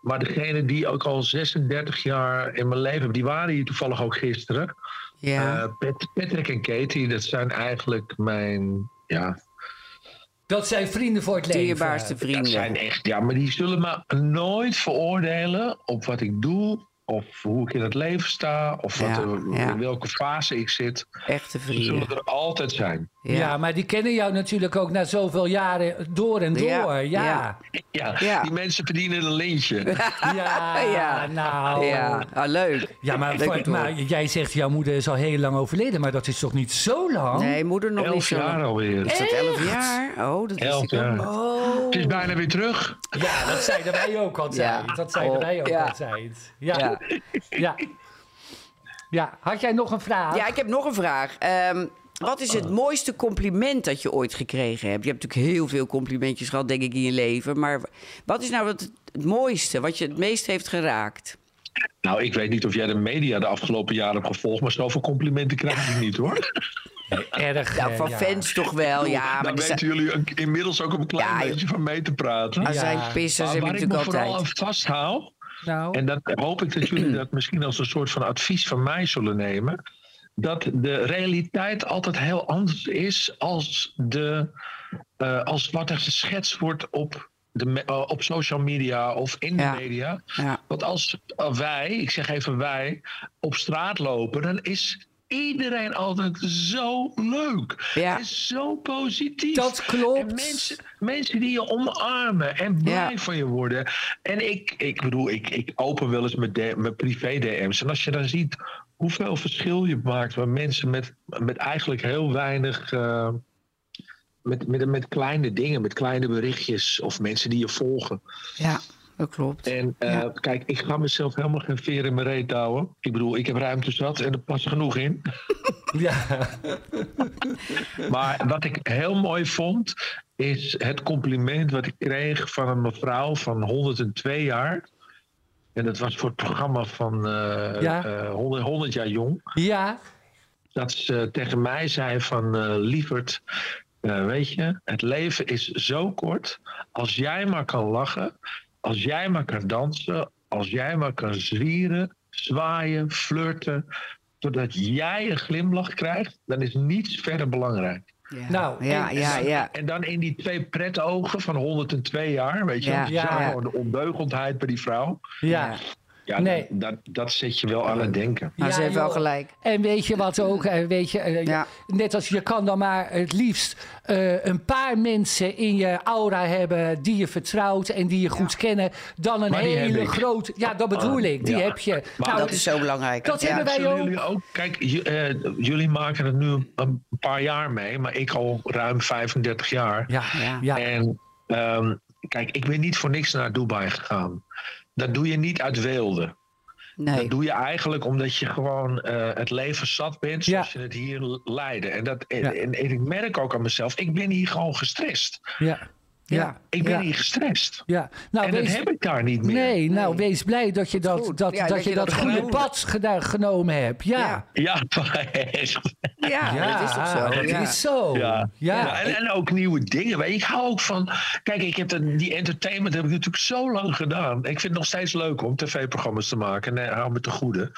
Maar degene die ook al 36 jaar in mijn leven hebben, die waren hier toevallig ook gisteren. ja. Eh, Pat- Patrick en Katie, dat zijn eigenlijk mijn. Ja, Dat zijn vrienden voor het leven. Dierbaarste dat zijn vrienden. echt. Ja, maar die zullen me nooit veroordelen op wat ik doe. Of hoe ik in het leven sta. Of wat Ja, er- ja. in welke fase ik zit. Echte Ze zullen vrienden. er altijd zijn. Ja. maar die kennen jou natuurlijk ook na zoveel jaren door en door. Ja, Ja, ja, ja. Ja, Ja. die mensen verdienen een lintje. ja, Ja. nou. Ja, ah, leuk. Ja, maar, Leuk voor- om te maar horen. jij zegt jouw moeder is al heel lang overleden, maar dat is toch niet zo lang? Nee, moeder nog niet Elf zo. jaar lang. alweer. Is dat elf jaar? Oh, dat is Elf ik ook. jaar. Oh. Het is bijna weer terug. Ja, dat zeiden wij ook altijd. Ja. Dat zeiden Oh, wij ook ja. altijd. Ja. Ja. Ja. ja. had jij nog een vraag? Ja, ik heb nog een vraag. Ehm, wat is Ah. het mooiste compliment dat je ooit gekregen hebt? Je hebt natuurlijk heel veel complimentjes gehad, denk ik, in je leven. Maar wat is nou het, het mooiste, wat je het meest heeft geraakt? Nou, ik weet niet of jij de media de afgelopen jaren hebt gevolgd, maar zoveel complimenten krijg ik niet hoor. Erg. Nou, eh, van ja. fans toch wel, ja. Maar Dan er weten zijn, jullie een- inmiddels ook een klein Ja, joh. beetje van mee te praten. er Ja. zijn pissers, Maar heb je waar ik me natuurlijk vooral aan altijd. vasthoud, Nou, en dat hoop ik dat jullie dat misschien als een soort van advies van mij zullen nemen, dat de realiteit altijd heel anders is als, de, eh, als wat er geschetst wordt op, de, me- eh, op social media of in Ja. de media. Ja, Want als wij, ik zeg even wij, op straat lopen, dan is iedereen altijd zo leuk. Ja. En zo positief. Dat klopt. En mensen, mensen die je omarmen en blij Ja. van je worden. En ik, ik bedoel, ik, ik open wel eens mijn, D- mijn privé-DM's. En als je dan ziet hoeveel verschil je maakt waar mensen met, met eigenlijk heel weinig. eh, met, met, met kleine dingen, met kleine berichtjes of mensen die je volgen. ja, dat klopt. En eh, kijk, ik ga mezelf helemaal geen veer in mijn reet houden. Ik bedoel, ik heb ruimte zat en er past genoeg in. ja. Maar wat ik heel mooi vond, is het compliment wat ik kreeg van een mevrouw van 102 jaar. En dat was voor het programma van eh, Ja. eh, 100, 100 jaar jong. ja. dat ze tegen mij zei van eh, lieverd, eh, weet je, het leven is zo kort. Als jij maar kan lachen, als jij maar kan dansen, als jij maar kan zwieren, zwaaien, flirten, totdat jij een glimlach krijgt, dan is niets verder belangrijk. Ja. Nou, ja, en- ja, ja. En dan in die twee pretogen van 102 jaar, weet je, Ja. want je zag Ja. gewoon de onbeugeldheid bij die vrouw. Ja. Ja, Nee. dat, dat, dat zet je wel aan het denken. Maar Ja, ze heeft wel joh. gelijk. En weet je wat ook? eh, Weet je, eh, Ja. Net als je kan dan maar het liefst eh, een paar mensen in je aura hebben die je vertrouwt en die je goed kennen. Dan een Maar die heb hele ik. Ah, grote. Ja, dat bedoel ik. Die Ja. heb je. Nou, dus Maar dat is zo belangrijk. dat hebben wij Zullen ook. jullie ook? Kijk, j- eh, jullie maken het nu een paar jaar mee, maar ik al ruim 35 jaar. Ja, ja. Ja. En ehm, kijk, ik ben niet voor niks naar Dubai gegaan. Dat doe je niet uit weelde. Nee. Dat doe je eigenlijk omdat je gewoon eh, het leven zat bent zoals je het hier le- leidde. En, dat, en, Ja. en- en ik merk ook aan mezelf, ik ben hier gewoon gestrest. ja. ja. Ik ben ja. hier gestrest. Ja. Nou, en dat wees- heb ik daar niet meer. Nee, nou wees blij dat je dat, Goed. dat, Ja, dat, je dat, gewoon goede doet. pad geda- genomen hebt. Ja. Ja. Ja, maar echt. Ja, dat is toch zo. dat ja. is zo. Oh, Ja. Ja. Ja, en, en ook nieuwe dingen. Weet je. Ik hou ook van. Kijk, ik heb dat- die entertainment heb ik natuurlijk zo lang gedaan. Ik vind het nog steeds leuk om tv-programma's te maken. Nee, hou me te goede.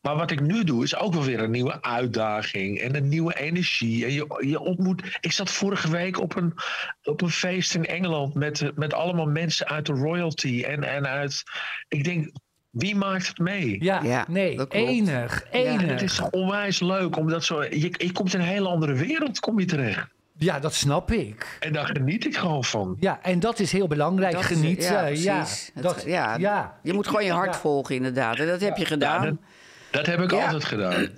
Maar wat ik nu doe, is ook wel weer een nieuwe uitdaging. En een nieuwe energie. En je, je ontmoet. Ik zat vorige week op een, op een feest in Engeland. Met, met allemaal mensen uit de royalty. En, en uit. Ik denk, wie maakt het mee? Ja, Ja, nee, dat klopt. enig, En het enig. is toch onwijs leuk, omdat zo, je, je komt in een hele andere wereld kom je terecht. Ja, dat snap ik. En daar geniet ik gewoon van. Ja, en dat is heel belangrijk, Dat is- genieten. ja, Ja, precies. Het- dat, ja, ja. Je moet gewoon je hart Ja. volgen, inderdaad. En dat heb je Ja, dat, gedaan. dat heb ik Ja. altijd gedaan.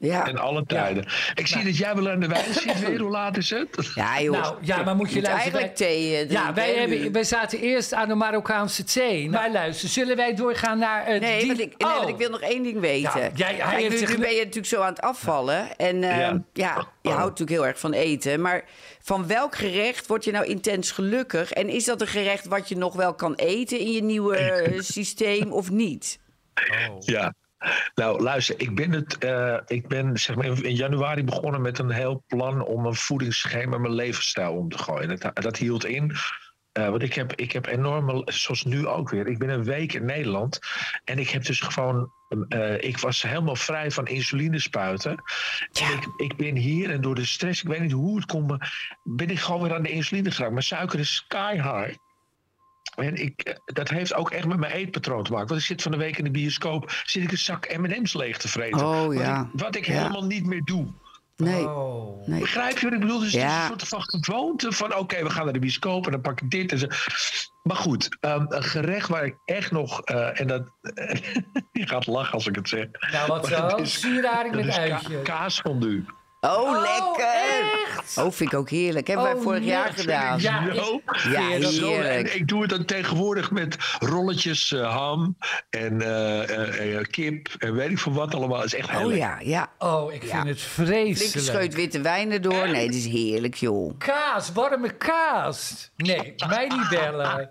Ja. In alle tijden. Ik zie dat jij wel aan de wijn zit weer. Hoe laat is het? Ja, joh. Nou, ja, maar moet je Je moet luisteren... eigenlijk thee eh, ja, drinken, wij, hè, nu. hebben, wij zaten eerst aan de Marokkaanse thee. Maar luister, zullen wij doorgaan naar het... Nou. Nee, die- want ik, nee, want Oh. ik wil nog één ding weten. Ja, jij- hij Kijk, heeft nu, zich- nu ben je natuurlijk zo aan het afvallen. En ehm, Ja. ja. je houdt natuurlijk heel erg van eten. Maar van welk gerecht word je nou intens gelukkig? En is dat een gerecht wat je nog wel kan eten in je nieuwe eh, systeem of niet? Ja. Nou, luister, ik ben, het, eh, ik ben zeg maar in januari begonnen met een heel plan om mijn voedingsschema en mijn levensstijl om te gooien. Dat, dat hield in. eh, want ik heb, ik heb enorme, zoals nu ook weer, ik ben een week in Nederland. En ik heb dus gewoon, eh, ik was helemaal vrij van insulinespuiten. En ik, ik ben hier en door de stress, ik weet niet hoe het komt, maar ben ik gewoon weer aan de insuline geraakt. Mijn suiker is sky high. En ik, eh, dat heeft ook echt met mijn eetpatroon te maken. Want ik zit van de week in de bioscoop, zit ik een zak M&M's leeg te vreten. Oh, Wat ja. ik- wat ik Ja. helemaal niet meer doe. Nee. Oh. nee. Begrijp je wat ik bedoel? Dus het is Ja. een soort van gewoonte van... oké, we gaan naar de bioscoop en dan pak ik dit en zo. Maar goed, ehm, een gerecht waar ik echt nog... eh, en dat... je gaat lachen als ik het zeg. Nou, wat Maar zo? dat is- Sieraring Dat met is ka uitje. kaasfondue. Oh, Oh, lekker! Oh, vind ik ook heerlijk. Hebben Oh, wij vorig jaar lekker. gedaan. Ja, Yo. ik- Ja, Heerlijk. Zo, heerlijk. en ik doe het dan tegenwoordig met rolletjes eh, ham en eh, eh, eh, kip en weet ik veel wat allemaal. Dat is echt Oh heerlijk. ja, ja. Oh, ik vind Ja. het Flinke vreselijk. scheut witte wijn erdoor. Nee, dat is heerlijk, joh. Kaas, warme kaas. Nee, mij niet bellen.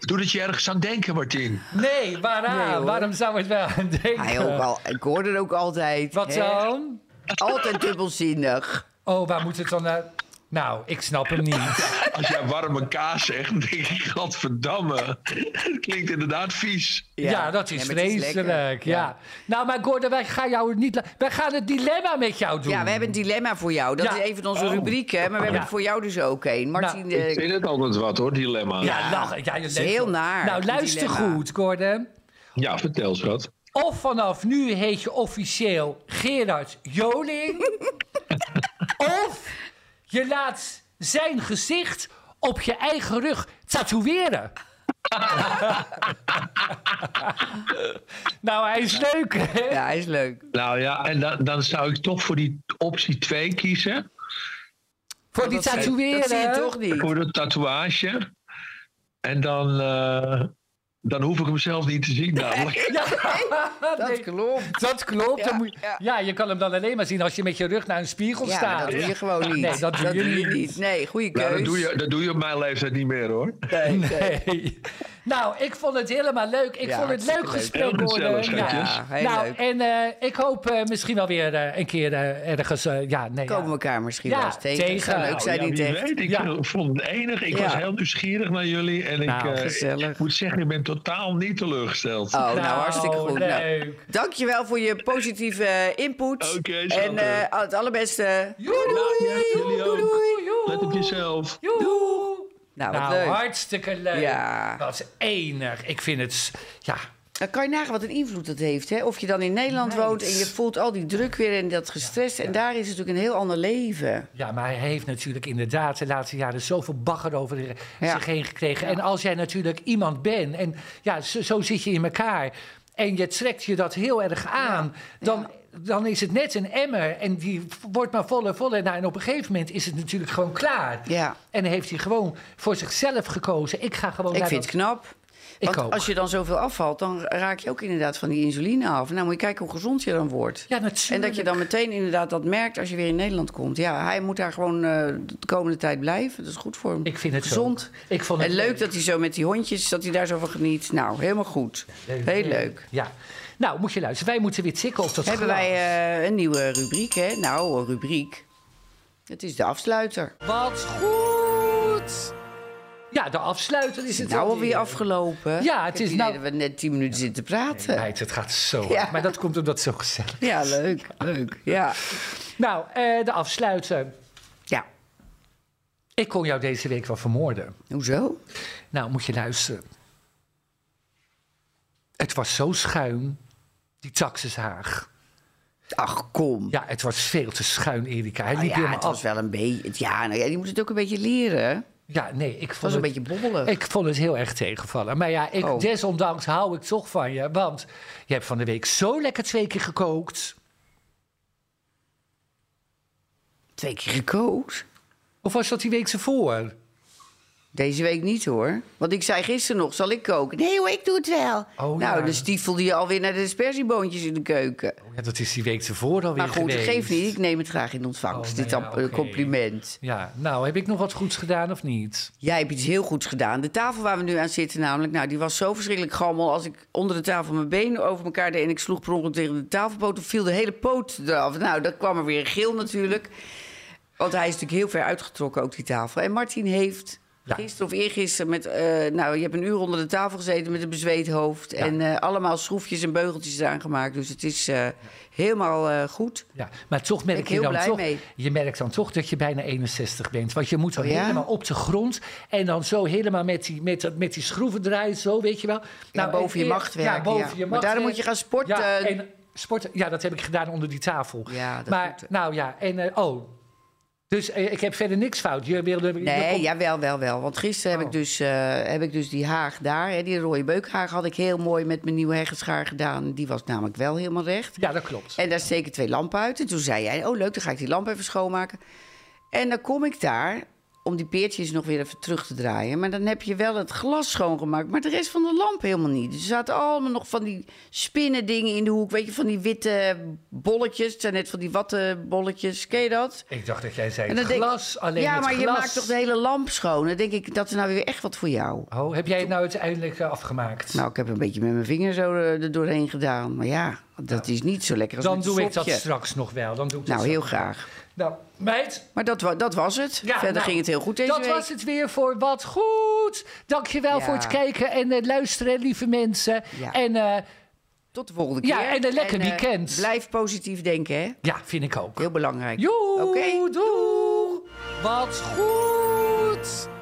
Doe dat je ergens aan denken, Martin. Nee, waaraan? Nee, hoor. Waarom zou ik wel aan denken? Hij ook al, ik hoor het ook altijd. Wat hè? dan? Altijd dubbelzinnig. Oh, waar moet het dan naar? Nou, ik snap hem niet. Als jij warme kaas zegt, dan denk ik, godverdamme. Het klinkt inderdaad vies. Ja, dat is Ja, maar het is vreselijk. lekker. ja. Nou, maar Gordon, wij gaan, jou niet la- wij gaan het dilemma met jou doen. Ja, we hebben een dilemma voor jou. Dat Ja. is een van onze Oh. rubrieken, maar we hebben Ja. het voor jou dus ook een. Martin, Nou, eh, Ik vind het altijd wat hoor, dilemma. Ja, Ja, lachen. Ja, je is leeft heel wel. naar, Nou, een luister dilemma. goed, Gordon. vertel schat. Of vanaf nu heet je officieel Gerard Joling. of je laat zijn gezicht op je eigen rug tatoeëren. nou, hij is leuk, hè? ja, hij is leuk. Nou ja, en dan, dan zou ik toch voor die optie 2 kiezen. Voor die Dat zie- tatoeëren. Dat zie je toch niet? Voor de tatoeage. En dan, eh, dan hoef ik hem zelf niet te zien namelijk. Dat Nee, klopt. dat klopt. Dan Ja, moet- Ja, ja. je kan hem dan alleen maar zien als je met je rug naar een spiegel Ja, maar staat. dat doe je gewoon niet. Nee, dat doe je niet. Nee, goede keus. Nou, dat, doe je, dat doe je op mijn leeftijd niet meer hoor. Nee, nee. Nee. Nou, ik vond het helemaal leuk. Ik Ja, vond het hartstikke leuk leuk. gesprek Heel worden. gezellig, schatjes. Ja, heel nou, leuk. en eh, ik hoop eh, misschien wel weer eh, een keer eh, ergens. eh, ja, nee, Komen we ja. elkaar misschien Ja, wel eens tegen. tegen. Het zou leuk Nou, zijn ja, niet wie echt. weet, ik Ja. vond het enig. Ik Ja. was heel nieuwsgierig naar jullie. En Nou, ik, eh, gezellig. ik moet zeggen, ik ben totaal niet teleurgesteld. Oh, nou, hartstikke Nou, goed. Nou, leuk. dankjewel voor je positieve eh, input. Oké, en schat. eh, het allerbeste. Joe, Nou, ja, jullie doei, ook. doei, joe. Let op jezelf. Joe. Nou, wat Nou, leuk. hartstikke leuk. Ja. Dat is enig. Ik vind het. s- Ja, Dan kan je nagaan wat een invloed dat heeft. Hè? Of je dan in Nederland Meid. woont en je voelt al die druk weer en dat gestrest. En daar is natuurlijk een heel ander leven. Ja, maar hij heeft natuurlijk inderdaad de laatste jaren zoveel bagger over de- Ja. zich heen gekregen. En als jij natuurlijk iemand bent en ja, zo, zo zit je in elkaar en je trekt je dat heel erg aan, dan, dan is het net een emmer en die wordt maar voller, voller. Nou, en op een gegeven moment is het natuurlijk gewoon klaar. Ja, En heeft hij gewoon voor zichzelf gekozen. Ik ga gewoon ik naar vind het dat- knap. Ik Want ook. als je dan zoveel afvalt, dan raak je ook inderdaad van die insuline af. Nou, moet je kijken hoe gezond je dan wordt. Ja, natuurlijk. En dat je dan meteen inderdaad dat merkt als je weer in Nederland komt. Ja, hij moet daar gewoon eh, de komende tijd blijven. Dat is goed voor hem. Ik vind het zo. gezond. Ik vond het En leuk dat hij zo met die hondjes, dat hij daar zo van geniet. Nou, helemaal goed. Heel leuk. Ja. Nou, moet je luisteren. Wij moeten weer tikken op dat Hebben glas. wij eh, een nieuwe rubriek, hè? Nou, een rubriek. Het is de afsluiter. Wat goed! Ja, de afsluiter is het Nou, alweer alweer. afgelopen. Ja, het Ik heb is het idee nou- dat we net tien minuten zitten praten. Meid, het gaat zo hard. Ja. Maar dat komt omdat het zo gezellig Ja, leuk, leuk. Ja. Nou, eh, de afsluiter. ja, Ik kon jou deze week wel vermoorden. hoezo? Nou, moet je luisteren. Het was zo schuin, die taxishaag. Ach, kom. Ja, het was veel te schuin, Erika. Hij liep Ah, ja, helemaal het af. was wel een beetje... Ja, nou ja, die moet het ook een beetje leren. Ja, nee, ik Het vond was een het... beetje bobbelig. Ik vond het heel erg tegenvallen. Maar ja, ik, Oh. desondanks hou ik toch van je. Want je hebt van de week zo lekker twee keer gekookt. Twee keer gekookt. Of was dat die week ervoor? Deze week niet, hoor. Want ik zei gisteren nog, zal ik koken? Nee hoor, ik doe het wel. Oh, nou, ja. dan stiefelde je alweer naar de dispersieboontjes in de keuken. Ja, dat is die week ervoor alweer Maar goed, geweest. geef niet. Ik neem het graag in ontvangst. Oh, Dit nou ja, am- eh, oké. compliment. Ja, nou, heb ik nog wat goeds gedaan of niet? Jij hebt iets heel goeds gedaan. De tafel waar we nu aan zitten, namelijk, nou, die was zo verschrikkelijk gammel. Als ik onder de tafel mijn benen over elkaar deed en ik sloeg per ongeluk tegen de tafelpoot, toen viel de hele poot eraf. Nou, dan kwam er weer een geel natuurlijk. Want hij is natuurlijk heel ver uitgetrokken, ook die tafel. En Martin heeft Ja. gisteren of eergisteren met... eh, nou, je hebt een uur onder de tafel gezeten met een bezweet hoofd. En eh, allemaal schroefjes en beugeltjes eraan gemaakt. Dus het is eh, helemaal eh, goed. Ja, maar toch merk Ik je heel dan blij toch... mee. Je merkt dan toch dat je bijna 61 bent. Want je moet dan Oh ja? helemaal op de grond... en dan zo helemaal met die, met, dat- met die schroeven draaien, zo, weet je wel. Nou, boven je en- macht werken, Ja, boven ja. je Maar macht werken. daarom moet je gaan sporten. Ja, en sporten, ja, dat heb ik gedaan onder die tafel. Ja, dat maar, moet- nou ja, en... eh, oh, dus eh, ik heb verder niks fout. Je wilde... je Nee, kon- ja, wel, wel, wel. Want gisteren heb, ik dus, eh, heb ik dus die haag daar, hè, die rode beukhaag, had ik heel mooi met mijn nieuwe heggenschaar gedaan. Die was namelijk wel helemaal recht. ja, dat klopt. En daar steken twee lampen uit. En toen zei jij, oh leuk, dan ga ik die lamp even schoonmaken. En dan kom ik daar om die peertjes nog weer even terug te draaien. Maar dan heb je wel het glas schoongemaakt, maar de rest van de lamp helemaal niet. Dus er zaten allemaal nog van die spinnen dingen in de hoek. Weet je, van die witte bolletjes. Het zijn net van die wattenbolletjes. Ken je dat? Ik dacht dat jij zei En dan denk ik, glas, alleen ja, het maar je glas. maakt toch de hele lamp schoon? Dan denk ik, dat is nou weer echt wat voor jou. Oh, heb jij het nou uiteindelijk eh, afgemaakt? Nou, ik heb een beetje met mijn vinger zo eh, er doorheen gedaan. Maar ja, dat is niet zo lekker als dan met een doe ik dat sopje. straks nog wel. Dan doe ik dat Nou, heel straks nog wel. graag. Nou, meid, Maar dat, wa- dat was het. Ja, Verder nou, ging het heel goed deze dat week. was het weer voor Wat Goed. Dankjewel Ja. voor het kijken en eh, luisteren, lieve mensen. Ja. En eh, Tot de volgende keer. Ja, en een lekker eh, weekend. blijf positief denken, hè. ja, vind ik ook. Heel belangrijk. Joe, Oké. doei. Wat Goed.